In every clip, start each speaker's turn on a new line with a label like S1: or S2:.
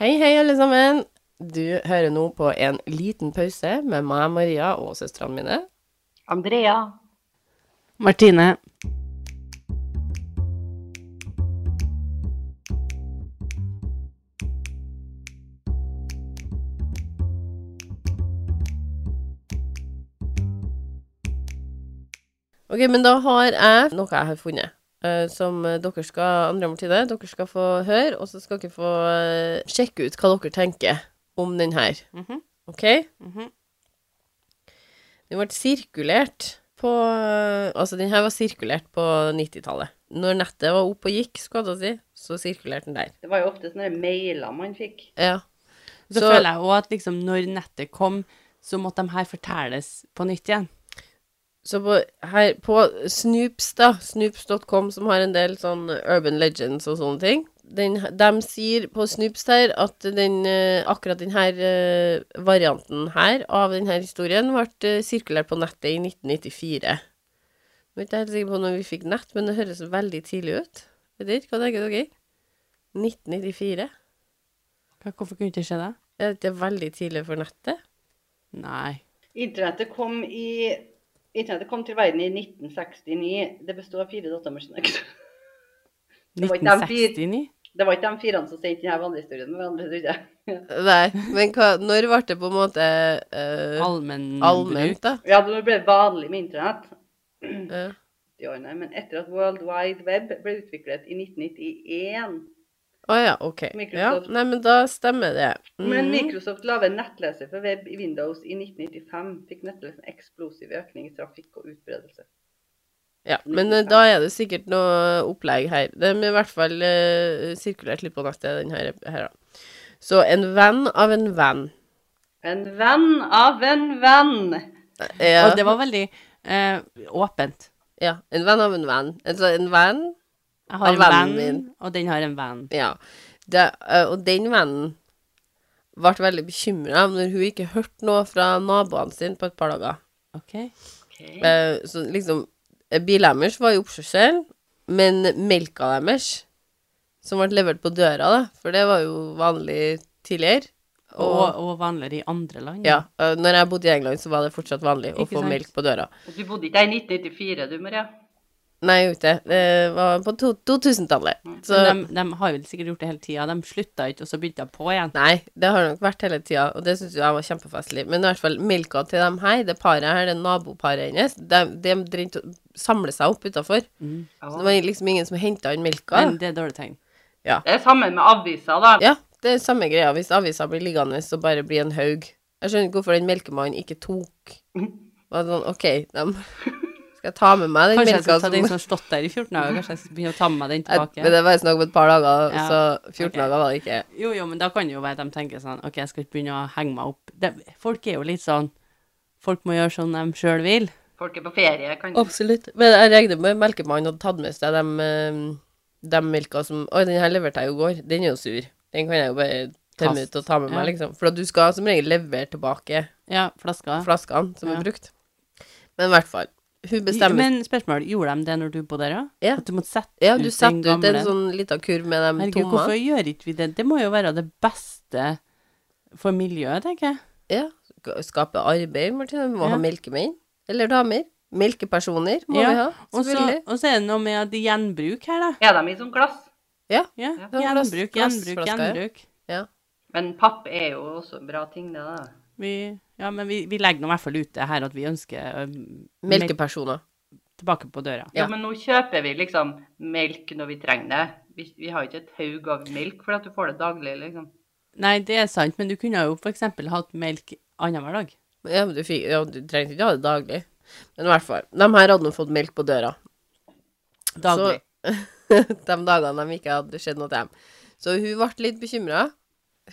S1: Hei, hei, alle sammen. Du hører nå på en liten pause med meg, Maria, og søstrene mine.
S2: Andrea.
S3: Martine.
S1: Ok, men da har jeg noe jeg har funnet, eh, som eh, dere skal, Andrea og Martine, dere skal få høre, og så skal dere få eh, sjekke ut hva dere tenker om den her.
S3: Mhm.
S1: Ok? Den ble sirkulert på Altså, den her var sirkulert på 90-tallet. Når nettet var opp og gikk, skal jeg si, så sirkulerte den der.
S2: Det var jo ofte sånne mailer man fikk.
S1: Ja.
S3: Så,
S1: Så-
S3: føler jeg òg at liksom, når nettet kom, så måtte de her fortelles på nytt igjen.
S1: Så på, her, på Snoops, da, snoops.com, som har en del sånn urban legends og sånne ting den, De sier på Snoops her at den, eh, akkurat denne varianten her av denne historien ble eh, sirkulert på nettet i 1994. Jeg er ikke helt sikker på når vi fikk nett, men det høres veldig tidlig ut. Vet dere, hva tenker dere? 1994?
S3: Hva- Hvorfor kunne det ikke skje det?
S1: Er det ikke veldig tidlig for nettet?
S3: Nei.
S2: Internettet kom, i, internettet kom til verden i 1969. Det bestod av fire datamaskiner. Det var ikke dem fire.
S3: 1969?
S2: Det var ikke de firene som sendte denne vandrehistorien med hverandre, tror jeg.
S1: Nei, men hva, når ble det på en måte eh,
S3: Allmennbruk.
S1: allment, da?
S2: Ja, det ble vanlig med internett.
S1: Ja.
S2: i årene, Men etter at World Wide Web ble utviklet i 1991
S1: Å ja, OK. Ja,
S2: Microsoft.
S1: nei, men da stemmer det. Mhm.
S2: Men Microsoft lager en nettleser for web i Windows i 1995. Fikk nettleseren eksplosiv økning i trafikk og utbredelse.
S1: ja, men eh, da er det sikkert noe opplegg her. De er i hvert fall eh, sirkulert litt på nettet, den her. her da. Så en venn av en venn.
S2: En venn av en venn.
S1: Ja,
S3: Og det var veldig eh, åpent.
S1: ja, en venn av en venn. Altså en venn
S3: Jeg har
S1: Av
S3: en
S1: vennen
S3: venn,
S1: min.
S3: og den har en venn.
S1: Ja. Det, eh, og den vennen ble veldig bekymra når hun ikke hørte noe fra naboene sine på et par dager.
S3: Ok.
S1: Eh, så liksom eh, Bilen deres var i oppkjørselen, men melka deres, som ble levert på døra, da, for det var jo vanlig tidligere
S3: Og,
S1: Og,
S3: og vanligere i andre land.
S1: ja, eh, når jeg bodde i England, så var det fortsatt vanlig å
S3: Ikke
S1: få
S3: sant?
S1: melk på døra.
S2: Du bodde ikke der i 1994, du, Maria?
S1: Nei, jeg gjorde ikke det. Det var på to- 2000-tallet. Så
S3: Mm. Men de, de har jo sikkert gjort det hele tida. De slutta ikke, og så begynte de på igjen.
S1: Nei, det har det nok vært hele tida, og det syns jeg var kjempefestlig. Men i hvert fall, melka til dem her, det paret her, det naboparet hennes, de, de drente og samlet seg opp utafor.
S3: Mm.
S1: Så det var liksom ingen som henta inn melka.
S3: Men det er dårlig tegn.
S2: Det er sammen med aviser, da.
S1: Ja, det er samme greia hvis avisa blir liggende og bare blir en haug. Jeg skjønner ikke hvorfor den melkemannen ikke tok. Var sånn, ok, dem skal jeg ta med meg den
S3: Kanskje jeg
S1: melka
S3: skal ta den som har stått der i 14 dager, kanskje jeg skal begynne å ta med meg den
S1: Jeg- Men
S3: tilbake.
S1: det var snakk om et par dager,
S3: Ja,
S1: så 14
S3: ok.
S1: dager var det ikke.
S3: Jo, jo, men da kan det jo være at de tenker sånn OK, jeg skal ikke begynne å henge meg opp. Det, folk er jo litt sånn Folk må gjøre som de sjøl vil.
S2: Folk er på ferie. Kan...
S1: Absolutt. Men jeg regner med melkemannen hadde tatt med seg dem, eh, dem melka som Oi, den her leverte jeg jo i går. Den er jo sur. Den kan jeg jo bare tømme
S3: Kast.
S1: ut og ta med meg,
S3: Ja.
S1: liksom. For at du skal som regel levere tilbake
S3: Ja, flaska.
S1: flaskene som
S3: Ja.
S1: er brukt. Men i hvert fall. Hun bestemmer
S3: Men spørsmål, gjorde de det når du bodde der, ja?
S1: Ja.
S3: At du måtte sette
S1: Ja, du
S3: ut den
S1: setter ut
S3: gamle?
S1: en sånn liten kurv med de
S3: Herregud, hvorfor
S1: tommene.
S3: gjør ikke vi det? Det må jo være det beste for miljøet, tenker jeg.
S1: Ja. Skape arbeid, Martine. Vi må
S3: Ja.
S1: ha melkemenn. Eller damer. Melkepersoner må
S3: Ja,
S1: vi ha.
S3: Og så
S1: Selvfølgelig.
S3: og så er det noe med at gjenbruk her, da.
S2: Er de i sånn glass?
S1: Ja.
S3: Ja,
S1: Ja, glass-
S3: gjenbruk, gjenbruk,
S1: glassflasker, ja.
S3: gjenbruk.
S1: ja.
S2: Men papp er jo også en bra ting, det, da.
S3: Vi, ja, men vi, vi legger nå i hvert fall ut det her at vi ønsker ø, melk
S1: Melkepersoner.
S3: tilbake på døra.
S1: Ja.
S2: Jo, men nå kjøper vi liksom melk når vi trenger det. Vi, vi har ikke et haug av melk for at du får det daglig, liksom.
S3: Nei, det er sant, men du kunne jo for eksempel hatt melk annenhver dag.
S1: Ja, men du, fikk, ja, du trengte ikke ha det daglig. Men i hvert fall. De her hadde nå fått melk på døra.
S3: Daglig.
S1: Så, de dagene de ikke hadde skjedd noe til dem. Så hun ble litt bekymra,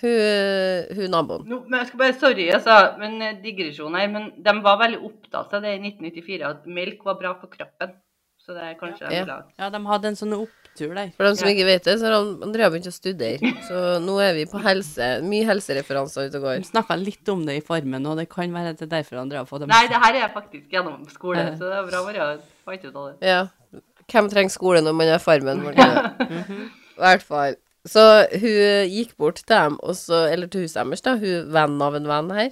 S1: hun, hun naboen.
S2: Nå, men jeg skal bare, sorry, altså, men eh, digresjon her, men de var veldig opptatt av det i 1994, at melk var bra for kroppen. Så det er kanskje
S1: Ja.
S2: de vil ha.
S3: Ja, de hadde en sånn opptur der.
S1: For dem som
S2: Ja.
S1: ikke vet det, så har han- Andrea begynt å studere. Så nå er vi på helse. Mye helsereferanser ute og går.
S3: De snakka litt om det i formen, og det kan være at det er derfor andre har fått dem.
S2: Nei, det her er jeg faktisk gjennom skole,
S3: Ja.
S2: så det er bra Maria fant ut av det.
S1: Ja. Hvem trenger skole når man er farmen? Martine? I hvert fall. Så hun gikk bort til dem, og så, eller til huset deres, da, hun venn av en venn her.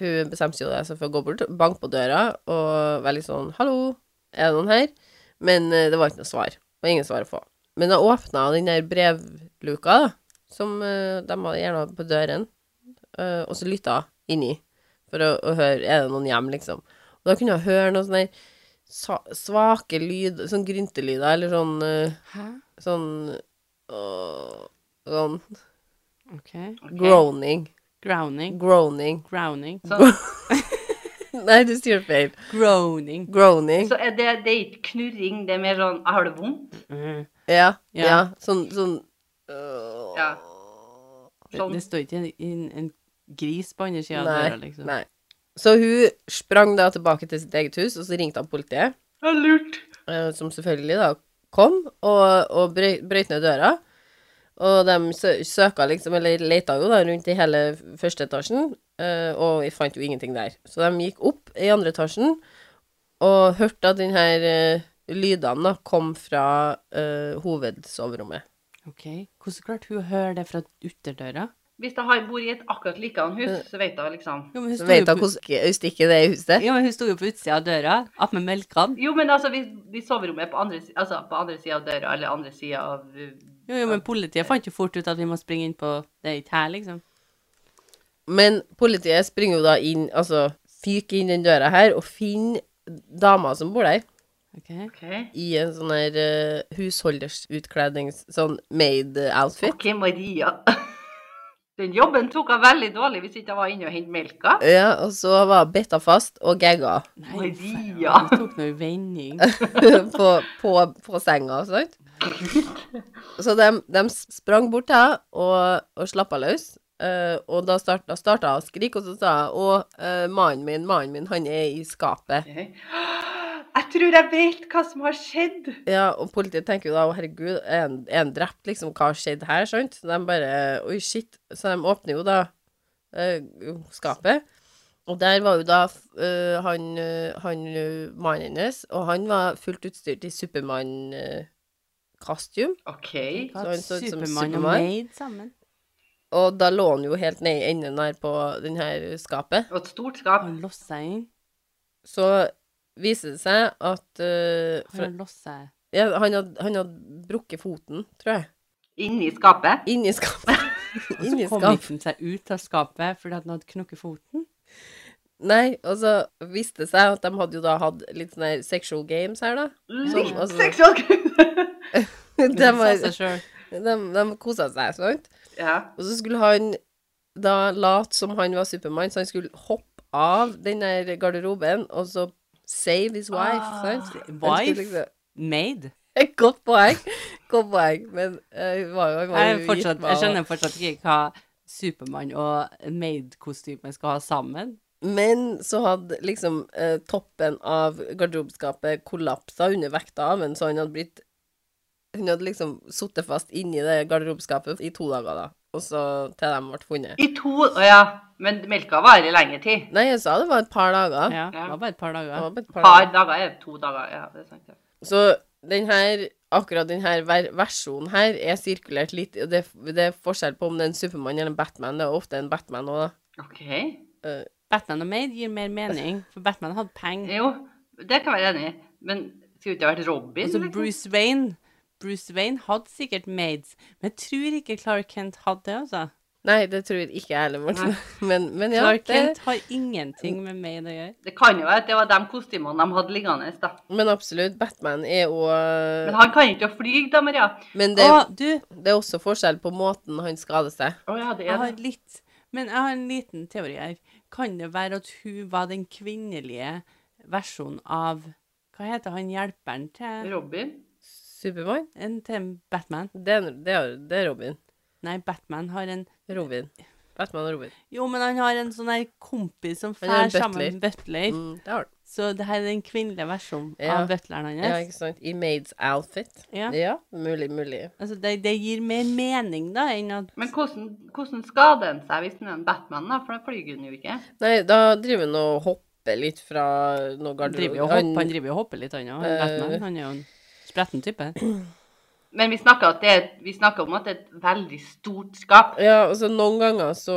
S1: Hun bestemte seg jo altså for å gå bort, banke på døra og være litt sånn 'Hallo, er det noen her?' Men eh, det var ikke noe svar. Det var ingen svar å få. Men da åpna den der brevluka, da, som eh, de hadde gjerne på døren, eh, og så lytta inni for å, å høre 'Er det noen hjem', liksom. Og da kunne hun høre noen sånne der sa- svake lyd, sånn gryntelyder, eller sånn eh,
S3: Hæ?
S1: Sånn øh, Sånn
S3: OK.
S2: Ok.
S1: groaning.
S3: Grounding.
S1: Groaning.
S3: Grounding.
S2: Så,
S1: Nei, du sier feil.
S3: Groaning.
S1: Groaning.
S2: så er det, det er ikke knurring, det er mer sånn Jeg har det vondt.
S3: Mm.
S1: Ja.
S3: Ja.
S1: ja. Sånn, sånn øh,
S2: Ja.
S3: Det,
S2: Sånn.
S3: det står ikke en, en, en gris på andre sida av
S1: Nei,
S3: døra, liksom.
S1: Nei. Så hun sprang da tilbake til sitt eget hus, og så ringte han politiet.
S2: Det er lurt.
S1: eh, som selvfølgelig da kom og, og brøy- brøyt ned døra. Og de sø søka liksom, eller leita jo da rundt i hele første etasjen, eh, og jeg fant jo ingenting der. Så de gikk opp i andre etasjen og hørte at den her eh, lydene da kom fra eh, hovedsoverommet.
S3: OK. Hvordan klarte hun å høre det fra ytterdøra?
S2: Hvis jeg har- bor i et akkurat likedan hus, så vet jeg liksom
S3: Jo, men hun
S1: Så
S3: sto
S1: vet
S3: jo
S1: hun
S3: på-
S1: hvordan austikken er i huset.
S3: Jo, men hun sto jo på utsida av døra, opp med melkene.
S2: Jo, men altså, hvis, hvis soverommet er på andre, si- altså, på andre sida av døra, eller andre sida av uh,
S3: Jo, jo, men politiet fant jo fort ut at vi må springe inn på Det er ikke her, liksom.
S1: Men politiet springer jo da inn, altså fyker inn den døra her, og finner dama som bor der.
S3: OK.
S2: OK,
S1: i en sånn her uh, husholdersutklednings... Sånn maid-outfit.
S2: Ok, Maria. Den jobben tok jeg veldig dårlig hvis ikke jeg var inne og hentet melka.
S1: Ja, og så var hun bitta fast og gagga
S3: Nei,
S2: Maria.
S3: faen, vi tok nå en vending.
S1: på, på, på senga, sant? Så de, de sprang bort til henne og, og slappa løs. eh, og da starta, starta hun å skrike, og så sa hun Å, eh, mannen min, mannen min, han er i skapet.
S2: Ok. Jeg tror jeg vet hva som har skjedd.
S1: Ja, og politiet tenker jo da, å herregud, er han- er han drept, liksom, hva har skjedd her, sant? Så de bare, oi, shit, så de åpner jo da eh, skapet, og der var jo da eh, han, eh, han eh, mannen hennes, og han var fullt utstyrt i Superman-kostium,
S2: OK.
S1: Så han så ut som
S3: Supermann og
S1: Superman.
S3: maid sammen.
S1: og da lå han jo helt ned i enden her på den her skapet,
S2: Og et stort skap.
S3: Han låste seg inn.
S1: så viser det seg at eh, fra,
S3: Han låste seg
S1: ja, han hadde, han hadde brukket foten, tror jeg,
S2: Inni skapet.
S1: inni skapet.
S3: Og
S1: Inni
S3: så kom
S1: skapet.
S3: han seg ut av skapet fordi at han hadde knukket foten.
S1: Nei, og så viste det seg at de hadde jo da hatt litt sånne her sexual games her, da.
S2: Litt
S1: altså-
S2: seksuelt.
S1: De,
S3: Hun sa
S1: var-
S3: seg selv,
S1: de, de kosa seg, sant.
S2: ja.
S1: Og så skulle han da late som han var Supermann, så han skulle hoppe av den der garderoben og så save his wife,
S2: Ah,
S1: sant. Han skulle
S3: Wife?
S1: liksom-
S3: Maid?
S1: Godt poeng. Godt poeng. Men eh, hun var jo, han var jo
S3: Jeg, er fortsatt,
S1: gift med
S3: jeg
S1: han.
S3: skjønner fortsatt ikke hva Supermann og maid-kostyme skal ha sammen.
S1: Men så hadde liksom eh, toppen av garderobeskapet kollapsa under vekta av ham, så han hadde blitt Hun hadde liksom sittet fast inni det garderobeskapet i to dager, da. Og så til de ble funnet.
S2: I to Å ja. Men melka varer i lengre tid.
S1: Nei, jeg sa det var et par dager.
S3: Ja, det var bare et par
S1: Det
S3: dager.
S1: var bare et par
S2: Par
S1: dager.
S2: dager er to dager. Ja, det er sant. Ja.
S1: Så den her, akkurat den her ver versjonen her er sirkulert litt. Og det, det er forskjell på om det er en Supermann eller en Batman. Det er ofte en Batman òg, da.
S2: OK.
S3: Batman og maid gir mer mening, for Batman hadde penger.
S2: Jo, det kan jeg være enig i. Men skulle ikke ha vært Robin?
S3: Altså
S2: liksom?
S3: Bruce Wayne Bruce Wayne hadde sikkert maids, men jeg tror ikke Clark Kent hadde det, altså.
S1: Nei, det tror ikke jeg heller, Morten. Men, men ja.
S3: Clark
S1: det-
S3: Kent har ingenting med maid å gjøre.
S2: Det kan jo være at det var de kostymene de hadde liggende. da.
S1: Men absolutt, Batman er
S2: Men
S1: òg
S2: han kan ikke fly, da, Maria.
S1: Men
S3: Å,
S1: det,
S3: du,
S1: det er også forskjell på måten han skader seg.
S2: Å ja, det
S3: jeg
S2: er
S3: har
S2: det.
S3: litt Men jeg har en liten teori her. Kan det være at hun var den kvinnelige versjonen av Hva heter han hjelperen til,
S2: Robin.
S1: Supermann?
S3: en, til Batman?
S1: Det, er- det, er- det er Robin.
S3: Nei, Batman har en
S1: Robin. Batman og Robin.
S3: Jo, men han har en sånn her kompis som
S1: Han har en
S3: fær sammen med butler.
S1: Mm, det har han.
S3: Så det her er den kvinnelige versjonen
S1: Ja.
S3: av butleren
S1: Ja,
S3: hans.
S1: ikke sant? I maids outfit.
S3: Ja.
S1: Ja, mulig, mulig.
S3: Altså, det, det gir mer mening, da, enn at
S2: Men hvordan, hvordan skader han seg hvis han er en Batman, da? For da flyr han jo ikke.
S1: Nei, da driver han og hopper litt fra noe
S3: han driver
S1: garderobe.
S3: jo og hopper, han driver jo og hopper litt, han òg.
S1: Eh.
S3: Batman han er jo en spretten type.
S2: Men vi snakker, at det, er- vi snakker om at det er et veldig stort skap.
S1: Ja, altså noen ganger så,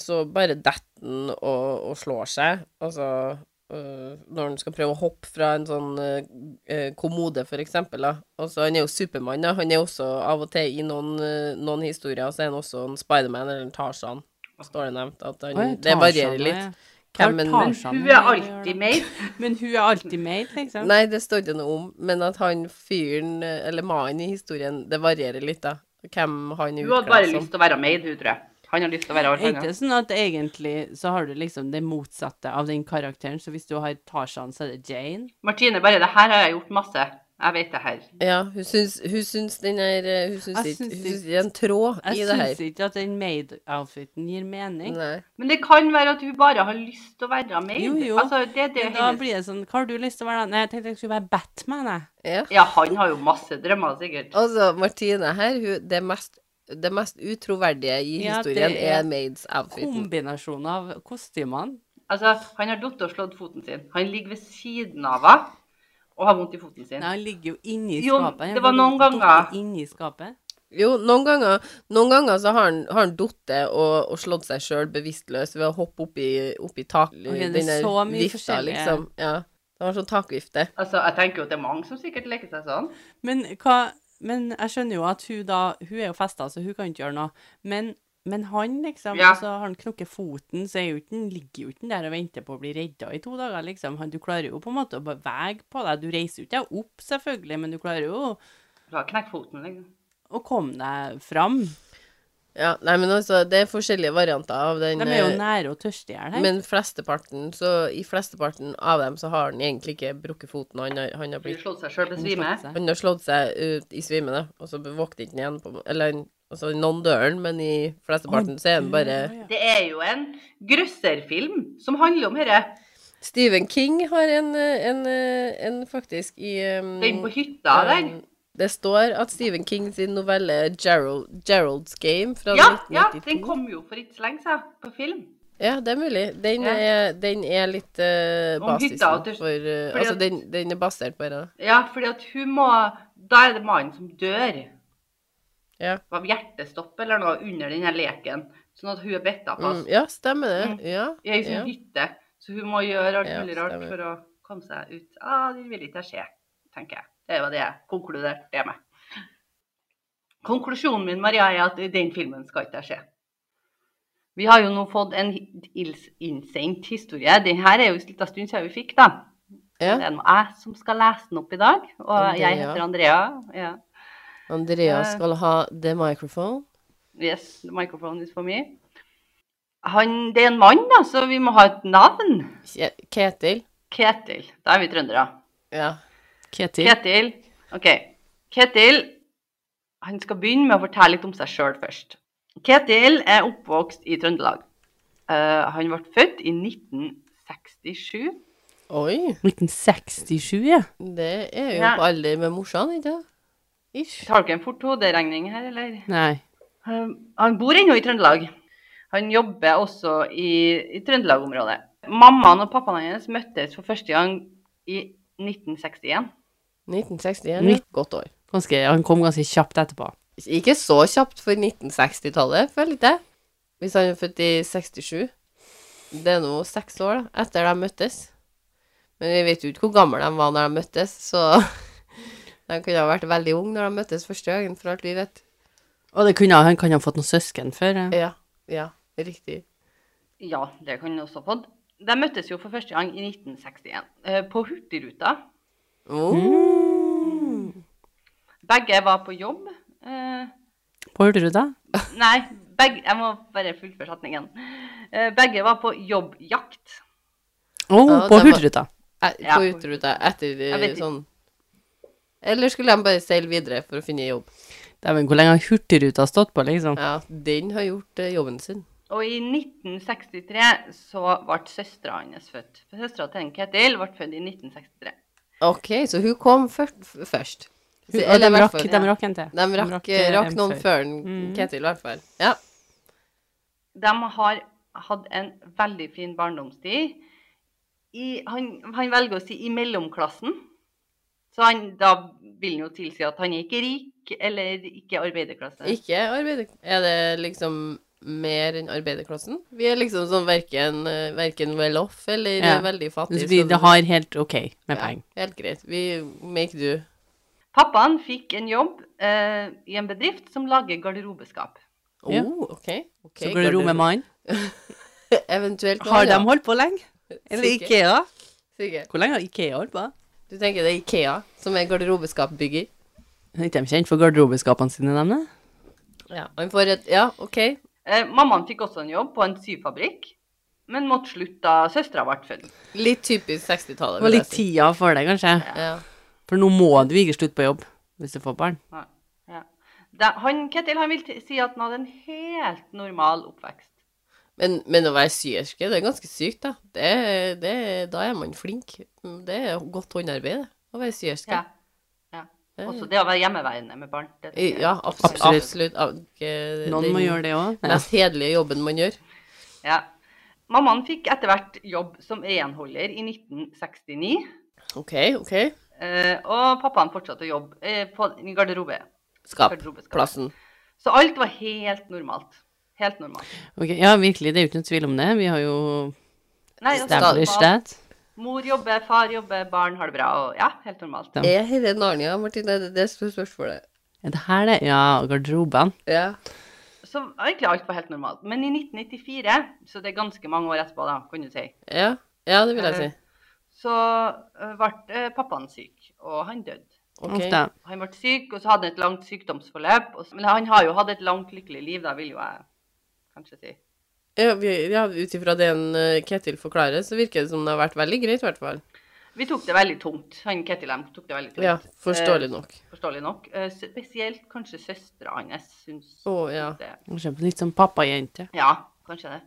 S1: så bare detter den og, og slår seg. Altså øh, når han skal prøve å hoppe fra en sånn øh, øh, kommode, for eksempel. Da. Altså, han er jo Supermann, da. Han er også av og til i noen, øh, noen historier så er han også en Spiderman eller en Tarzan. Står det nevnt. At han,
S3: Oi,
S1: det varierer
S3: Tarzan,
S1: litt.
S3: ja.
S1: Hvem en-
S3: Tar Tarzan,
S2: Hun er
S3: ja, det gjør
S2: alltid
S3: det.
S2: med.
S3: Men hun er alltid med, liksom.
S1: Nei, det står ikke noe om, men at han fyren, øh, eller mannen i historien, det varierer litt, da. Hvem han er
S2: Hun hadde bare
S1: utkledd som.
S2: lyst til å være maid, hun, tror jeg. Han har lyst til å være alt
S3: altså. Er ikke
S2: annet.
S3: det sånn at egentlig så har du liksom det motsatte av den karakteren, så hvis du har Tarzan, så er det Jane?
S2: Martine, bare det her har jeg gjort masse. Jeg vet det her.
S1: Ja, hun syns, hun syns den er øh, Hun syns
S3: Jeg
S1: ikke
S3: syns
S1: hun
S3: det-
S1: syns det er en tråd i
S3: Jeg
S1: det her.
S3: syns ikke at den maid-outfiten gir mening.
S1: Nei.
S2: Men det kan være at hun bare har lyst til å være maid.
S3: Jo, jo.
S2: Altså, det, er det
S3: Men da
S2: hennes-
S3: blir det sånn Hva har du lyst til å være? da? Nei, jeg tenkte jeg skulle være Batman, jeg.
S1: Ja.
S2: Ja, han har jo masse drømmer, sikkert.
S1: Altså, Martine her, hun, det, mest, det mest utroverdige i
S3: Ja, det
S1: historien er,
S3: er
S1: maids outfiten.
S3: Kombinasjonen av kostymene.
S2: Altså, han har datt og slått foten sin. Han ligger ved siden av henne og har vondt i foten sin.
S3: Nei, han ligger jo inni
S2: Jo,
S3: skapet. Han
S2: det var
S3: bare
S2: noen
S3: dukker
S2: ganger.
S3: Inni skapet.
S1: Jo, noen ganger, noen ganger så har han, har han datt og, og slått seg sjøl bevisstløs ved å hoppe opp i, opp i tak,
S3: det er
S1: den der
S3: så mye
S1: vifta,
S3: forskjellige.
S1: liksom. Ja. Han har sånn takvifte.
S2: Altså, jeg tenker jo at det er mange som sikkert leker seg sånn.
S3: Men hva Men jeg skjønner jo at hun da Hun er jo festa, så hun kan ikke gjøre noe. Men, men han, liksom,
S2: Ja.
S3: og så har han knukket foten, så er jo ikke, han ligger jo ikke han der og venter på å bli redda i to dager, liksom. Han, du klarer jo på en måte å bevege på deg. Du reiser jo ikke deg opp, selvfølgelig, men du klarer jo
S2: Så har knekt foten, liksom.
S3: å komme deg fram.
S1: Ja, nei, men altså, det er forskjellige varianter av den.
S3: De er jo
S1: eh,
S3: nære og tørste i hjel her.
S1: men flesteparten, så i flesteparten av dem så har han egentlig ikke brukket foten. Han har, han har
S2: Hun
S1: blitt
S2: slått seg sjøl til
S3: Han
S2: svime.
S3: slått seg.
S1: Han har slått seg ut i svime, da, og så våkner ikke han igjen på Eller han- altså, noen dør han, men i flesteparten så er han bare
S2: Det er jo en grøsserfilm som handler om dette.
S1: Stephen King har en, eh, en, eh, en faktisk i um,
S2: Den på
S3: Mm.
S2: hytta der.
S1: um, Det står at Stephen King sin novelle Gerald, 'Gerald's Game' fra
S2: Ja, ja,
S1: 1992
S2: den kom jo for ikke så lenge siden på film.
S1: Ja, det er mulig. Den,
S2: Ja.
S1: er, den er litt eh,
S2: Om hytta,
S1: basisen
S2: at
S1: for eh,
S2: det- fordi
S1: Altså,
S2: at-
S1: den, den er basert på dette.
S2: Ja, fordi at hun må Da er det mannen som dør
S1: Ja.
S2: av hjertestopp eller noe under denne leken. Sånn at hun er bitt av
S1: Mm,
S2: fast
S1: ja, stemmer det. Ja.
S2: i ei
S1: ja.
S2: sånn hytte. Så hun må gjøre alt
S1: Ja,
S2: mulig rart
S1: stemmer.
S2: for å komme seg ut. Ah, det vil ikke jeg se, tenker jeg. Det var det jeg konkluderte det med. Konklusjonen min, Maria, er at den filmen skal ikke jeg se. Vi har jo nå fått en ils- innsendt historie. Den her er jo en liten stund siden vi fikk, da.
S1: ja.
S2: Det er noe jeg som skal lese den opp i dag. Og
S1: Andrea.
S2: jeg heter Andrea. Ja.
S1: Andreas skal ha the microphone.
S2: Yes, the microphone is for me. Han, det er en mann, da, så vi må ha et navn.
S1: Kje- Ketil.
S2: Ketil. Da er vi trøndere.
S1: Ja.
S3: Ketil.
S2: Ketil. OK. Ketil han skal begynne med å fortelle litt om seg sjøl først. Ketil er oppvokst i Trøndelag. Eh, han ble født i 1967.
S1: Oi.
S3: 1967, ja.
S1: Det er jo
S2: Ja.
S1: på alder med morsan, ikke det? Ish.
S2: Tar dere en fort hoderegning her, eller?
S3: Nei.
S2: Eh, Han bor ennå i Trøndelag. Han jobber også i, i Trøndelag-området. Mammaen og pappaen hans møttes for første gang i 1961.
S1: 1961. Ja.
S3: Nitt-
S1: Godt år.
S3: Ganske, han kom ganske kjapt etterpå.
S1: Ikke så kjapt for 1960-tallet, føler jeg. Hvis han er født i 67. Det er nå seks år da, etter de møttes. Men vi vet jo ikke hvor gamle de var når de møttes, så de kunne ha vært veldig unge når de møttes første gangen, for alt vi vet.
S3: Og det kunne, han kan ha fått noen søsken før. eh.
S1: Ja. Ja. Riktig.
S2: Ja, det kan han også ha fått. De møttes jo for første gang i 1961, eh, på Hurtigruta.
S1: Oh.
S3: Mm.
S2: Begge var på jobb. eh,
S3: På Hurtigrud, da?
S2: Nei, begge, jeg må bare fullføre setningen. Eh, Begge var på jobbjakt.
S1: Ja,
S3: Å, på
S1: det var-
S3: Hurtigruta.
S1: Eh,
S2: Ja.
S1: På Utruta etter eh,
S2: Jeg vet ikke.
S1: sånn Eller skulle de bare seile videre for å finne jobb?
S3: Dæven, hvor lenge har Hurtigruta stått på, liksom?
S1: Ja, den har gjort eh, jobben sin.
S2: Og i 1963 så ble søstera hans født. Søstera til Ketil ble født i 1963.
S1: OK, så hun kom før- f- først. Så-
S3: Hun, og
S1: eller i
S3: de,
S1: hvert
S3: rakk,
S1: fall-
S3: de rakk en til.
S1: de rakk,
S3: eh,
S1: rakk
S3: en
S1: noen
S3: før. Mm.
S1: før en Ketil, i hvert fall. Ja.
S2: De har hatt en veldig fin barndomstid. I, han, han velger å si i mellomklassen. Så han, da vil han jo tilsi at han er ikke rik, eller ikke arbeiderklasse.
S1: Ikke arbeider... Er det liksom mer enn arbeiderklassen? Vi er liksom sånn verken, verken well off eller
S3: Ja.
S1: veldig fattig.
S3: Mens vi
S1: så-
S3: det har helt OK
S1: ja,
S3: med penger.
S1: Helt greit. Vi make do.
S2: Pappaen fikk en jobb eh, i en bedrift som lager garderobeskap.
S1: Oh,
S3: Ja.
S1: OK. ok,
S3: Så går det ro med mannen.
S1: Eventuelt
S3: Har
S1: mann,
S3: de
S1: ja.
S3: holdt på lenge? Eller
S1: Sikkert.
S3: Ikea?
S1: Sikkert.
S3: Hvor lenge har Ikea holdt på?
S1: Du tenker det er Ikea, som er garderobeskapbygger.
S3: Er ikke de kjent for garderobeskapene sine, dem, da?
S1: Ja, han får et Ja, OK.
S2: Eh, mammaen fikk også en jobb på en syfabrikk, men måtte slutte da søstera ble født.
S1: Litt typisk 60-tallet.
S3: Det var
S1: vil jeg
S3: litt
S1: si.
S3: tida for det, kanskje.
S1: Ja.
S3: For nå må du ikke slutte på jobb hvis du får barn.
S2: Ja. Ja. Da, han, Ketil han vil t- si at han hadde en helt normal oppvekst.
S1: Men, men å være syerske, det er ganske sykt, da. Det, det, da er man flink. Det er godt håndarbeid, det. Å være syerske.
S2: Ja. Ja. Også det å være hjemmeværende med barn. Det,
S1: I- Ja, absolutt.
S3: Absolutt.
S1: absolutt. Ab- eh,
S3: Noen
S1: den
S3: må gjøre det òg.
S1: Mest hederlige jobben man gjør.
S2: ja. Mammaen fikk etter hvert jobb som renholder i 1969,
S1: OK, OK.
S2: eh, og pappaen fortsatte å jobbe eh, på i garderobe.
S1: Skap.
S2: garderobeskap.
S1: Plassen.
S2: Så alt var helt normalt. Helt normalt.
S3: Ok, ja, virkelig. Det er jo ikke noen tvil om det. Vi har jo
S2: Nei, altså,
S3: established
S2: normalt.
S3: that.
S2: Mor jobber, far jobber, barn har det bra. Og, ja, helt normalt.
S3: Ja.
S1: Er dette Narnia, Martine? Det- Det er sp- spørsmålet.
S3: Er det her, det? Ja, garderobene.
S1: Ja.
S2: Så egentlig alt var helt normalt. Men i 1994, så det er ganske mange år etterpå, da, kan du si,
S1: ja. Ja, det vil jeg si.
S2: så eh, ble eh, pappaen syk, og han døde.
S1: OK.
S3: Uff da.
S2: Han ble syk, og så hadde han et langt sykdomsforløp. Og, så- men han har jo hatt et langt, lykkelig liv, da, vil jo jeg kanskje si.
S1: Ja, vi- ja, Ut ifra det en, eh, Ketil forklarer, så virker det som det har vært veldig greit, i hvert fall.
S2: Vi tok det veldig tungt. Han Ketil M tok det veldig tungt,
S1: Ja, forståelig nok.
S2: forståelig nok. Eh, Spesielt kanskje søstera hans syns
S1: Å, ja.
S2: det
S3: Kanskje Litt som pappajente.
S2: Ja, kanskje det.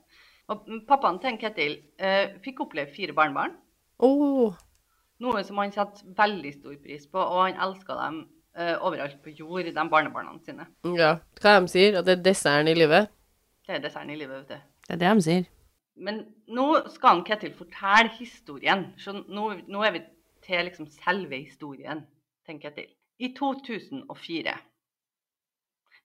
S2: Og mm, pappaen til Ketil eh, fikk oppleve fire barnebarn,
S3: Eh.
S1: Å,
S2: noe som han satte veldig stor pris på, og han elska dem eh, overalt på jord, de barnebarna sine.
S1: ja. Hva de sier? At det er desserten i livet?
S2: Det er desserten i livet, vet du.
S3: Det er det de sier.
S2: Men nå skal han Ketil fortelle historien, så nå, nå er vi til liksom selve historien, tenker jeg til. I 2004.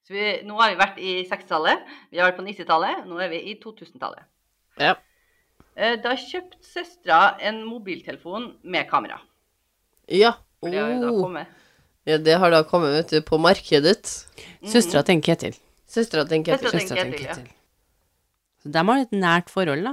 S2: Så vi, nå har vi vært i 60-tallet, vi har vært på 90-tallet, nå er vi i 2000-tallet.
S1: Ja.
S2: Eh, Da kjøpte søstera en mobiltelefon med kamera.
S1: Ja.
S2: For det har jo da
S3: Oh.
S1: Åh.
S2: kommet.
S1: Oh. ja. Det har da kommet vet du, på markedet.
S3: Søstera til Ketil.
S1: Søstera til en
S2: Søstra
S1: Ketil.
S2: til-
S3: Søstera til
S2: Ketil, ja.
S3: Ketil. Så de har et nært forhold, da.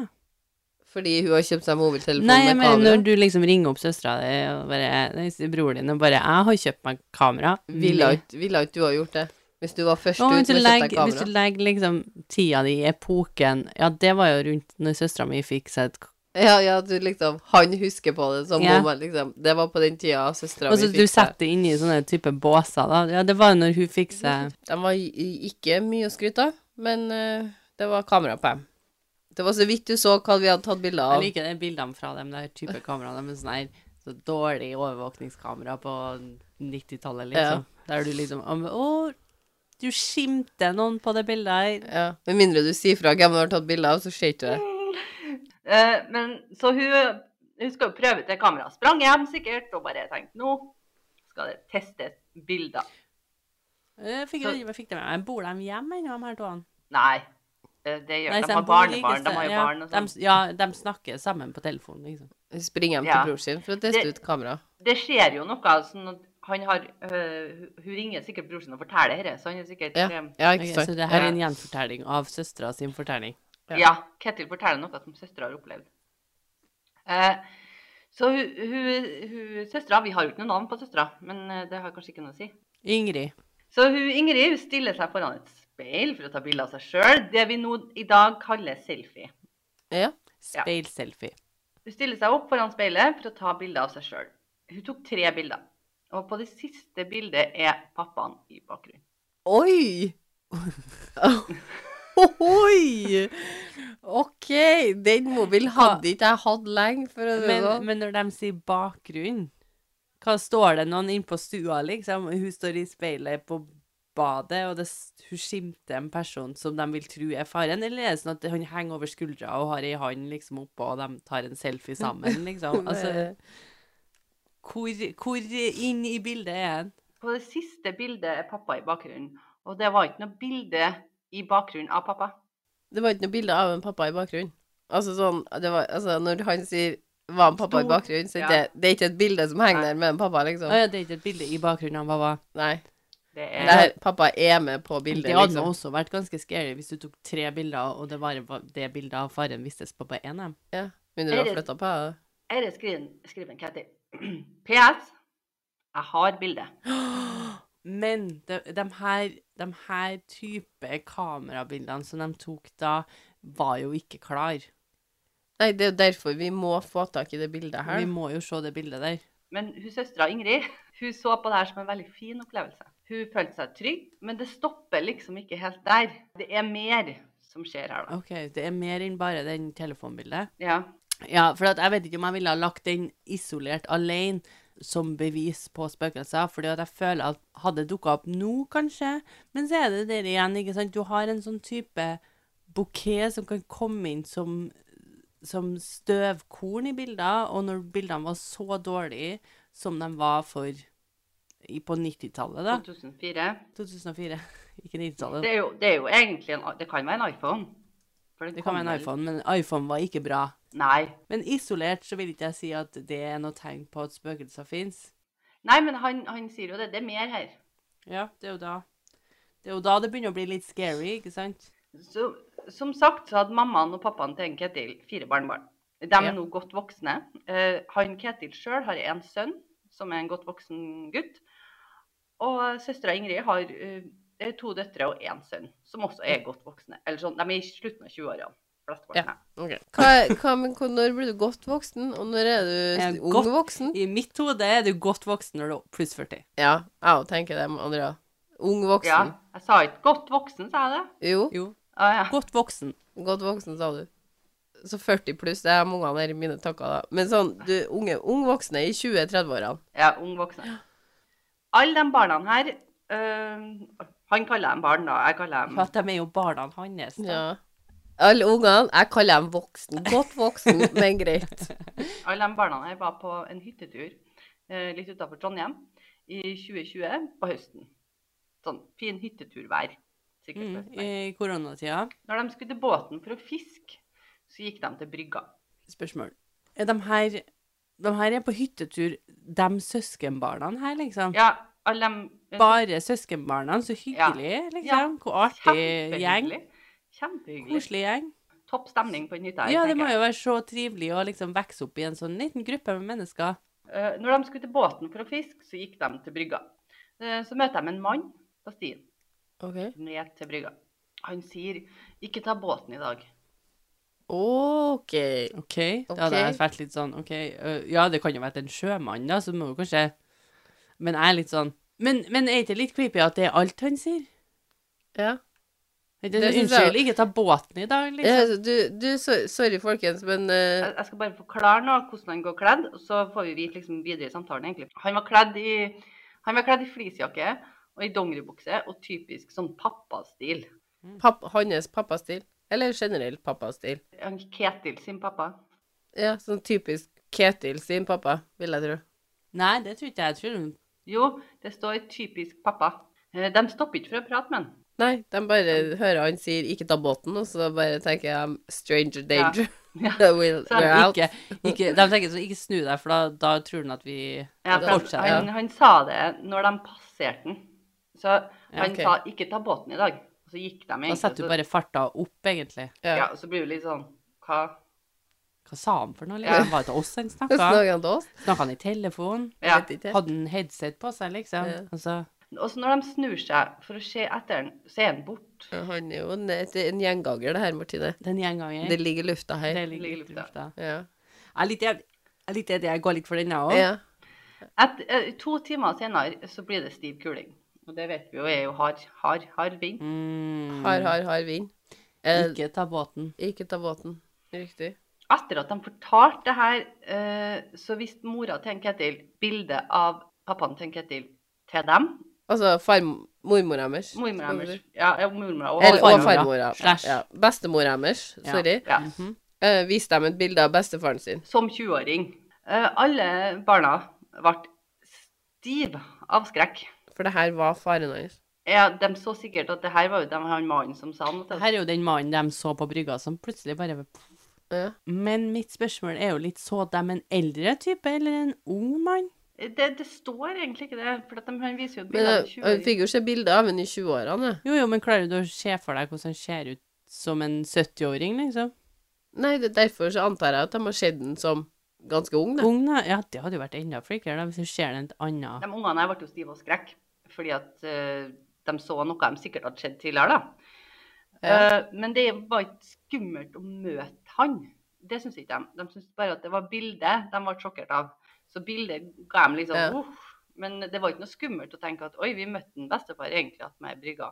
S1: Fordi hun har kjøpt seg mobiltelefon
S3: Nei,
S1: med
S3: jeg mener
S1: kamera.
S3: når du liksom ringer opp søstera di og bare nei, s- broren din og bare 'Jeg har kjøpt meg kamera'.
S1: Ville ikke ville ikke du ha gjort det? Hvis du var først
S3: Og
S1: ut med
S3: hvis,
S1: å
S3: du
S1: kjøpe deg
S3: legger, hvis
S1: kamera?
S3: du legger liksom tida di i epoken Ja, det var jo rundt når søstera mi fikk seg et k-
S1: Ja, ja, du liksom Han husker på det som
S3: Ja.
S1: om han liksom Det var på den tida søstera
S3: Og
S1: mi
S3: så
S1: fikk
S3: du
S1: det.
S3: setter det inn i sånne type båser, da. Ja, det var jo når hun fikk seg
S1: De var i- ikke mye å skryte av, men eh, det var kamera på dem. Det var så vidt du så hva vi hadde tatt bilde
S3: Jeg
S1: av.
S3: liker de bildene fra dem der type kameraene med sånn her så dårlig overvåkningskamera på 90-tallet, liksom. Der du liksom «Å, men- Å, du skimter noen på det bildet her.
S1: Ja. Med mindre du sier fra hvem du har tatt bilde av, så ser ikke du det.
S2: Eh, Men så hun, hun skal jo prøve ut det kameraet. Sprang hjem sikkert og bare tenkte nå skal det testes bilder.
S3: Jeg fikk,
S2: Så-
S3: jeg fikk det med meg. Bor de hjemme ennå, de her to?
S2: Nei, eh, det gjør
S3: Nei, så
S2: de har
S3: bor ikke
S2: barnebarn. De
S3: sa-
S2: har jo
S3: ja,
S2: barn og
S3: de-
S2: sånn.
S3: Ja, de snakker sammen på telefonen, liksom.
S1: Springer hjem
S2: Ja.
S1: til bror sin for å teste
S2: Det-
S1: ut kamera.
S2: Det skjer jo noe sånn at han har eh, Hun ringer sikkert bror sin og forteller dette, så han er sikkert
S1: Ja,
S2: eh,
S1: ja
S3: Ok,
S1: ikke sant?
S3: så det her er en gjenfortelling av søstera sin fortelling.
S1: ja.
S2: Ja, Ketil forteller noe som søstera har opplevd. Eh, så hun, hun, hun søstera Vi har jo ikke noe navn på søstera, men eh, det har kanskje ikke noe å si.
S3: Ingrid.
S2: Så hun, Ingrid hun stiller seg foran et speil for å ta bilde av seg sjøl, det vi nå i dag kaller selfie.
S1: Ja.
S2: Ja.
S3: Speilselfie.
S2: Hun stiller seg opp foran speilet for å ta bilde av seg sjøl. Hun tok tre bilder. Og på det siste bildet er pappaen i bakgrunnen.
S1: Oi! Oi! OK, den mobilen hadde ikke jeg hatt lenge, for å si det
S3: Men,
S1: sånn.
S3: men når de sier bakgrunn, hva står det noen inne på stua, liksom? Hun står i speilet på badet, og det, s- hun skimter en person som de vil tro er faren, eller er det sånn at han henger over
S1: Eh,
S3: skuldra og har ei hand liksom oppå, og de tar en selfie sammen, liksom? Altså, Hvor, hvor inn i bildet er han?
S2: På det siste bildet er pappa i bakgrunnen. Og det var ikke noe bilde i bakgrunnen av pappa.
S1: Det var ikke noe bilde av en pappa i bakgrunnen. Altså sånn, det var, altså når han sier 'var en pappa i
S2: Stor.
S1: bakgrunnen', så er
S2: Ja.
S1: det, det er ikke et bilde som henger
S2: Nei.
S1: der med en pappa,
S3: Å
S1: liksom.
S3: ja, det er ikke et bilde i bakgrunnen av pappa.
S1: Nei.
S2: Det er
S1: Det her, pappa er med på bildet,
S3: Det hadde nå
S1: liksom.
S3: også vært ganske scary hvis du tok tre bilder, og det var var- det bildet av faren vistes på bare én av dem.
S1: Ja. Begynner du
S2: Er
S1: å
S2: det-
S1: flytte på her?
S2: Her er skriven, skriven Katty. PS. Jeg har bildet.
S3: Men de, de, her, de her type kamerabildene som de tok da, var jo ikke klar.
S1: Nei, det er jo derfor vi må få tak i det bildet her.
S3: Vi må jo se det bildet der.
S2: Men hun søstera Ingrid hun så på det her som en veldig fin opplevelse. Hun følte seg trygg, men det stopper liksom ikke helt der. Det er mer som skjer her, da.
S3: OK, det er mer enn bare den telefonbildet.
S2: Ja.
S3: Ja, for at jeg vet ikke om jeg ville ha lagt den isolert alene som bevis på spøkelser, fordi at jeg føler at hadde dukka opp nå, kanskje, men så er det der igjen, ikke sant. Du har en sånn type bukett som kan komme inn som, som støvkorn i bilder, og når bildene var så dårlige som de var for i, på 90-tallet, da.
S2: 2004.
S3: 2004. Ikke 90-tallet.
S2: Det er, jo, det er jo egentlig en Det kan være en iPhone. For den
S3: Det kan være en
S2: kommer-
S3: iPhone, men iPhone var ikke bra.
S2: Nei.
S3: Men isolert så vil ikke jeg si at det er noe tegn på at spøkelser fins.
S2: Nei, men han, han sier jo det. Det er mer her.
S3: Ja, det er jo da. Det er jo da det begynner å bli litt scary, ikke sant?
S2: Så, som sagt så hadde mammaen og pappaen til en Ketil fire barnebarn. De er
S1: Ja.
S2: nå godt voksne. Eh, han Ketil sjøl har en sønn som er en godt voksen gutt. Og søstera Ingrid har eh, eh, to døtre og én sønn som også er godt voksne. Eller sånn, De er i slutten av
S1: Ja.
S2: 20-årene. flesteparten her.
S1: Ok. Hva, hva, men hvor- når blir du godt voksen, og når er du
S3: Jeg er
S1: s- ung
S3: godt-
S1: voksen?
S3: I mitt hode er du godt voksen når du er pluss 40.
S1: Ja, jeg òg tenker det, Andrea. Ung voksen.
S2: Ja, jeg sa ikke 'godt voksen', sa jeg det?
S1: Jo,
S3: Jo,
S2: Ah, ja.
S3: godt voksen.
S1: godt voksen, sa du. Så 40 pluss, det er mange av dere mine takker, da. Men sånn, du, unge, ung voksne i 20-30-årene.
S2: Ja, ung voksne. Alle de barna her eh, Han kaller dem barn, da. Jeg kaller dem
S3: For at de er jo barna hans. da.
S1: Ja. Alle ungene, jeg kaller dem voksen. Godt voksen, men greit.
S2: Alle de barna her var på en hyttetur eh, litt utafor Trondheim i 2020 på høsten. Sånn fin hyttetur hver. Sikkert.
S3: Mm,
S2: høsten.
S3: I koronatida.
S2: Når de skulle til båten for å fiske, så gikk de til brygga.
S3: Spørsmål. Er de her De her er på hyttetur, de søskenbarna her, liksom?
S2: Ja, alle eh, de
S3: Bare søskenbarna, så hyggelig, liksom. Hvor artig gjeng.
S2: Kjempehyggelig. Kjempehyggelig.
S3: Koselig gjeng.
S2: Topp stemning på den hytta. her,
S3: Ja, det
S2: tenker
S3: må
S2: jeg.
S3: jo være så trivelig å liksom vokse opp i en sånn liten gruppe med mennesker.
S2: Eh, Når de skulle til båten for å fiske, så gikk de til brygga. Eh, Så møter de en mann på stien.
S1: OK.
S2: Ned til brygga. Han sier 'ikke ta båten i dag'.
S1: OK.
S3: OK. Da hadde jeg
S1: Ok.
S3: vært litt sånn OK, øh, ja, det kan jo være en sjømann, da, så må jo kanskje Men jeg er litt sånn Men, men er ikke det litt creepy at det er alt han sier?
S1: Ja.
S3: Er
S1: Det
S3: Det, sånn,
S1: synes jeg
S3: unnskyld, ikke ta båten i dag,
S1: Ja,
S3: liksom.
S1: altså, du, du, so- sorry, folkens, men eh,
S2: Jeg jeg skal bare forklare nå hvordan han går kledd, og så får vi vite liksom videre i samtalen, egentlig. Han var kledd i, han var kledd i fleecejakke og i dongeribukse, og typisk sånn pappastil.
S1: papp, hans pappastil. Eller generelt pappastil.
S2: Han Ketil sin pappa.
S1: Ja, sånn typisk Ketil sin pappa, vil jeg tro.
S3: Nei, det tror ikke jeg. Jeg tror hun
S2: Jo, det står 'typisk pappa'. Eh, De stopper ikke for å prate med han.
S1: Nei, de bare hører han sier 'ikke ta båten', og så bare tenker jeg 'stranger danger'.
S2: Ja.
S1: We'll,
S2: Så han
S1: we're out.
S3: ikke, ikke, De tenker sånn Ikke snu deg, for da, da tror han at vi
S2: Ja,
S1: det
S2: for han,
S1: fortsetter,
S2: han, han sa det når de passerte den. Så han
S3: ok.
S2: sa 'ikke ta båten i dag'. Og så gikk de
S3: Da
S2: egentlig.
S3: setter
S2: og
S3: du
S2: så-
S3: bare farta opp, egentlig.
S1: Ja.
S2: Ja, så blir det litt sånn Hva?
S3: Hva sa han for noe?
S2: Ja.
S3: Liksom? Var det til oss han
S1: Så
S3: snakka?
S1: Snakker han til oss?
S3: Snakka han i telefon?
S2: Ja.
S1: Vet ikke.
S3: Hadde han headset på seg, liksom?
S1: Ja.
S3: Altså,
S2: Og så når de snur seg for å se etter han, så er han borte.
S1: Han er jo en, et- en gjenganger, det her, Martine.
S3: den gjengangeren
S1: Det ligger i lufta her.
S3: Det
S2: ligger
S3: ligger litt
S2: litt
S3: i lufta.
S1: Ja.
S3: Jeg er litt enig. Jeg er litt enig. Jeg går litt for den, jeg òg.
S1: ja.
S2: Et, eh, to timer senere så blir det stiv kuling. Og det vet vi jo er jo hard, hard, hard vind.
S3: Mm.
S1: Hard, hard, hard vind. Eh,
S3: Ikke ta båten.
S1: ikke ta båten. Riktig.
S2: Etter at de fortalte det her, eh, så viste mora til en Ketil bilde av pappaen til en Ketil til dem.
S1: Altså farm... Mormora deres.
S2: Mormora
S1: skal vi
S2: deres.
S1: si.
S2: Ja, ja, mormora og
S1: Eller, og
S3: farmora.
S1: farmora.
S3: Slash.
S1: Ja. Bestemora deres,
S3: Ja.
S1: sorry.
S2: Ja,
S3: Mhm.
S1: Eh, viste dem et bilde av bestefaren sin.
S2: som 20-åring. Eh, alle barna ble stiv av skrekk.
S1: For det her var faren hans.
S2: Ja, de så sikkert at det her var jo dem- han mannen som sa noe til
S3: Her er jo den mannen de så på brygga, som plutselig bare
S1: Ja.
S3: Men mitt spørsmål er jo litt så de en eldre type, eller en ung mann?
S2: oss. Det, det står egentlig ikke det, for at de, han viser jo
S1: Men
S2: et bilde av
S1: jeg,
S2: en 20
S1: jeg fikk jo se bilder av henne i 20-årene. jeg.
S3: Jo, jo, men klarer du å se for deg hvordan han ser ut som en 70-åring, liksom?
S1: Nei, det, derfor så antar jeg at de har sett den som ganske ung, da.
S3: Ung, da? Ja, det hadde jo vært enda flinkere da, hvis du ser den et annet
S2: De ungene her ble jo stive av skrekk, fordi at eh, de så noe de sikkert hadde skjedd tidligere, da.
S1: Ja.
S2: Eh, men det var ikke skummelt å møte han. Det syns ikke de. De syntes bare at det var bildet de ble sjokkert av. Så bildet ga dem liksom
S1: Ja.
S2: «Uff». Men det var ikke noe skummelt å tenke at oi, vi møtte en bestefar egentlig attmed brygga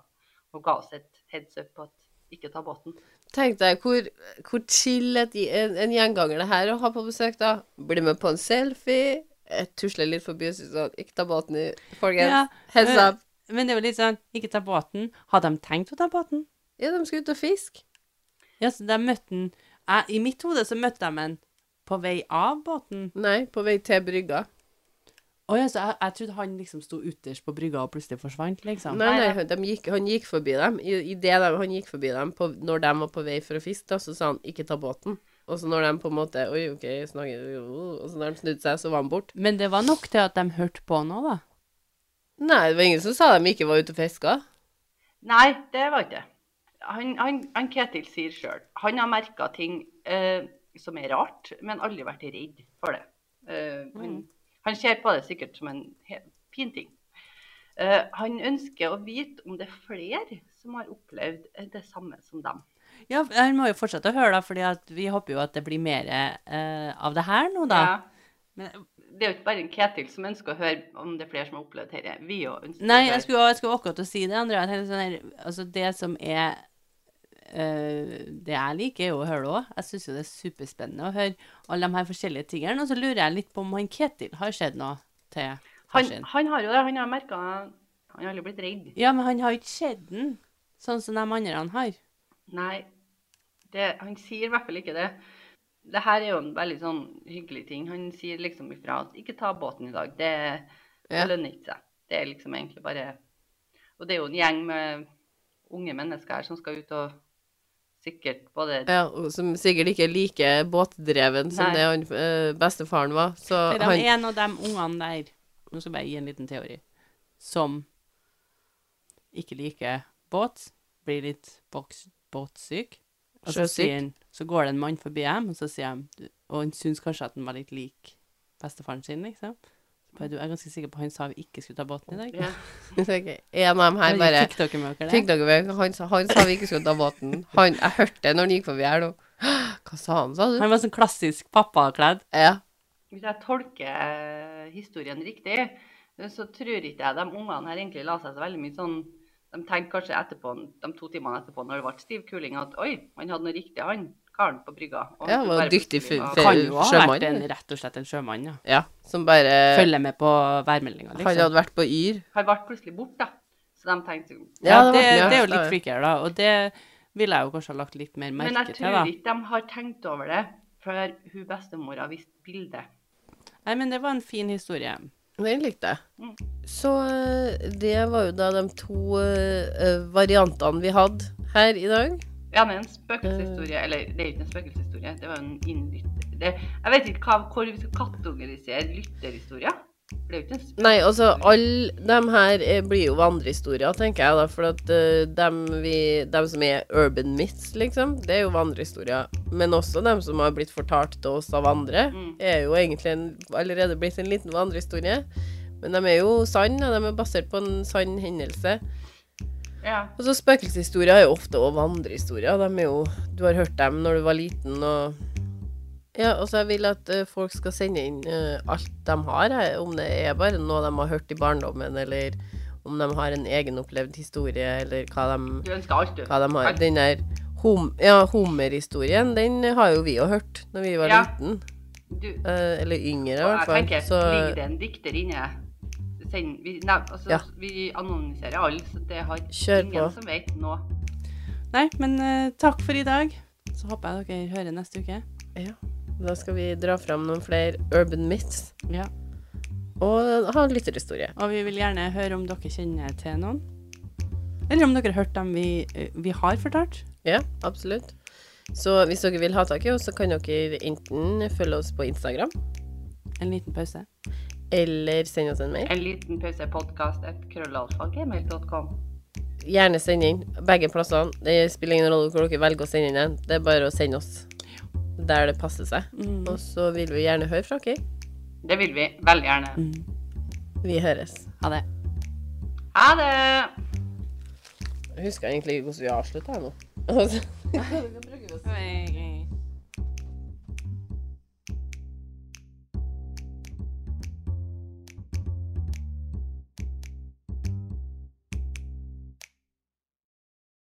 S2: og ga oss et heads up på at ikke ta båten.
S1: Tenk deg hvor, hvor chill et, en, en gjenganger det her å ha på besøk, da. Bli med på en selfie. Jeg tusler litt forbi og sier sånn Ikke ta båten i, folkens.
S3: Ja,
S1: Heads
S3: eh.
S1: up.
S3: Men det er jo litt sånn Ikke ta båten. Hadde de tenkt å ta båten?
S1: Ja, de skal ut og fiske.
S3: Ja, så de møtte han jeg- I mitt hode så møtte de han på vei av båten.
S1: Nei, på vei til brygga.
S3: Å ja, så jeg, jeg trodde han liksom sto ytterst på brygga og plutselig forsvant, liksom.
S1: Nei, nei, han- de gikk, han gikk forbi dem. I, i det de, han gikk forbi dem på, når de var på vei for å fiske, da, så sa han 'ikke ta båten'. Og så når de på en måte Oi, OK, snakker Og så når de snudde seg, så var han borte.
S3: Men det var nok til at de hørte på nå, da.
S1: Nei, det var ingen som sa de ikke var ute og fiska.
S2: Nei, det var ikke det. Han, han, han Ketil sier sjøl han har merka ting eh, som er rart, men aldri vært redd for det. Eh,
S3: Mm.
S2: han, han ser på det sikkert som en he- fin ting. Eh, han ønsker å vite om det er flere som har opplevd eh, det samme som dem.
S3: Ja, han må jo fortsette å høre, da, fordi at vi håper jo at det blir mer eh, av det her nå, da.
S2: Ja.
S3: Men,
S2: Det er jo ikke bare en Ketil som ønsker å høre om det er flere som har opplevd dette. Vi òg ønsker
S3: nei,
S2: å
S3: jeg
S2: høre.
S3: skulle, jeg skulle akkurat til å si det, Andrea. at hele Sånn her, altså, det som er eh, Det jeg liker, er jo å høre det òg. Jeg syns jo det er superspennende å høre alle de her forskjellige tingene. Og så lurer jeg litt på om han Ketil har skjedd noe til far
S2: Han,
S3: sin.
S2: han har jo det. Han har merka Han har aldri blitt redd.
S3: Ja, men han har jo ikke sett den, sånn som de andre han har.
S2: Nei, det, han sier i hvert fall ikke det. Det her er jo en veldig sånn hyggelig ting. Han sier liksom ifra at 'ikke ta båten i dag', det, det
S1: Ja.
S2: lønner ikke seg. Det er liksom egentlig bare Og det er jo en gjeng med unge mennesker her som skal ut og sikkert både
S1: Ja, og som sikkert ikke er like båtdreven som
S2: Nei.
S1: det han eh, bestefaren var. Så
S3: Det er
S1: han
S3: de en av de ungene der Nå skal jeg bare gi en liten teori. Som ikke liker båt. Blir litt boks, båtsyk. Og så,
S1: Sjøsyk.
S3: sier han, så går det en mann forbi dem, og så sier han Og han syns kanskje at han var litt lik bestefaren sin, liksom. Så bare, du jeg er ganske sikker på at han sa vi ikke skulle ta båten i dag.
S2: Ja.
S1: tenker, En av dem her
S3: Men
S1: bare
S3: fikk dere med dere
S1: Fikk
S3: det?
S1: dere med Han sa han sa vi ikke skulle ta båten. Han, jeg hørte det når han gikk forbi her nå. Hva sa han, sa du?
S3: Han var sånn klassisk pappakledd.
S1: Ja.
S2: Hvis jeg tolker eh, historien riktig, eh, så tror ikke jeg de ungene her egentlig la seg så veldig mye sånn De tenkte kanskje etterpå, de to timene etterpå når det ble stiv kuling, at oi, han hadde noe riktig, han karen på brygga. Og
S1: Ja,
S2: sto
S1: var
S2: bare
S1: dyktig
S2: plutselig
S1: fyr-
S2: og-
S1: fyr.
S3: Kan jo ha
S1: sjømann,
S3: vært en,
S1: eller?
S3: rett og slett en sjømann, ja.
S1: ja. Som bare
S3: Følger med på
S1: Eh,
S3: værmeldinga,
S1: Han
S3: liksom.
S1: hadde vært på Yr.
S2: Han ble plutselig borte, da. Så de tenkte
S3: Ja,
S1: Ja, det
S3: det,
S1: var
S3: det,
S1: mye
S3: er jo
S1: rart,
S3: litt
S1: da.
S3: freakere, da. Og det ville jeg jo kanskje ha lagt litt mer
S2: Men
S3: merke
S2: jeg
S3: til,
S2: tror
S3: da.
S2: ikke de har tenkt over det før hun bestemora viste bildet.
S3: Nei, men det var en fin historie.
S1: Den likte jeg.
S2: Mm.
S1: Så eh, det var jo da de to eh, variantene vi hadde her i dag.
S2: Ja, men en
S1: Eh.
S2: spøkelseshistorie Eller det er ikke en spøkelseshistorie, det var en innlytter... Det, jeg vet ikke hva, hvor vi skal kategorisere lytterhistorier. For det er jo ikke en spøkelseshistorie.
S1: Nei, altså, alle de her eh, blir jo vandrehistorier, tenker jeg, da. For at eh, dem, vi, dem som er urban myths, liksom, det er jo vandrehistorier. Men også dem som har blitt fortalt til oss av andre,
S2: Mm.
S1: er jo egentlig en, allerede blitt en liten vandrehistorie. Men de er jo sann, og de er basert på en sann hendelse.
S2: Ja.
S1: Og så spøkelseshistorier Altså, er jo ofte også vandrehistorier. De er jo Du har hørt dem når du var liten, og Ja, og så jeg vil at eh, folk skal sende inn eh, alt de har, jeg, om det er bare noe de har hørt i barndommen, eller om de har en egenopplevd historie, eller hva de,
S2: Du ønsker alt, du.
S1: hva de har.
S2: Alt.
S1: Den der hum, ja, hummerhistorien, den har jo vi jo hørt når vi var
S2: Ja.
S1: liten.
S2: Du,
S1: eh, eller yngre, i
S2: og
S1: hvert
S2: jeg
S1: fall.
S2: tenker,
S1: Så
S2: ligger det en dikter inne Send, vi, nei, altså,
S1: Ja.
S2: vi anonymiserer alle, så det har
S1: Kjør
S2: ingen
S1: på.
S2: som vet nå.
S3: Nei, men eh, takk for i dag. Så håper jeg dere hører neste uke.
S1: Ja. Da skal vi dra fram noen flere urban myths.
S3: Ja.
S1: og ha en lytterhistorie.
S3: Og vi vil gjerne høre om dere kjenner til noen. Eller om dere har hørt dem vi, eh, vi har fortalt.
S1: Ja, absolutt. Så hvis dere vil ha tak i oss, så kan dere enten følge oss på Instagram,
S3: En liten pause.
S1: eller sende oss en mail.
S2: En liten pause podcast et krøllalfa.gmail.com.
S1: Gjerne send inn begge plassene. Det spiller ingen rolle hvor dere velger å sende inn den. Det er bare å sende oss der det passer seg.
S3: Mm.
S1: Og så vil vi gjerne høre fra dere.
S2: Det vil vi veldig gjerne.
S1: Mm. Vi høres.
S3: Ha det.
S2: Ha det!
S1: Jeg husker egentlig ikke hvordan vi avslutta nå. Altså.
S3: Hei.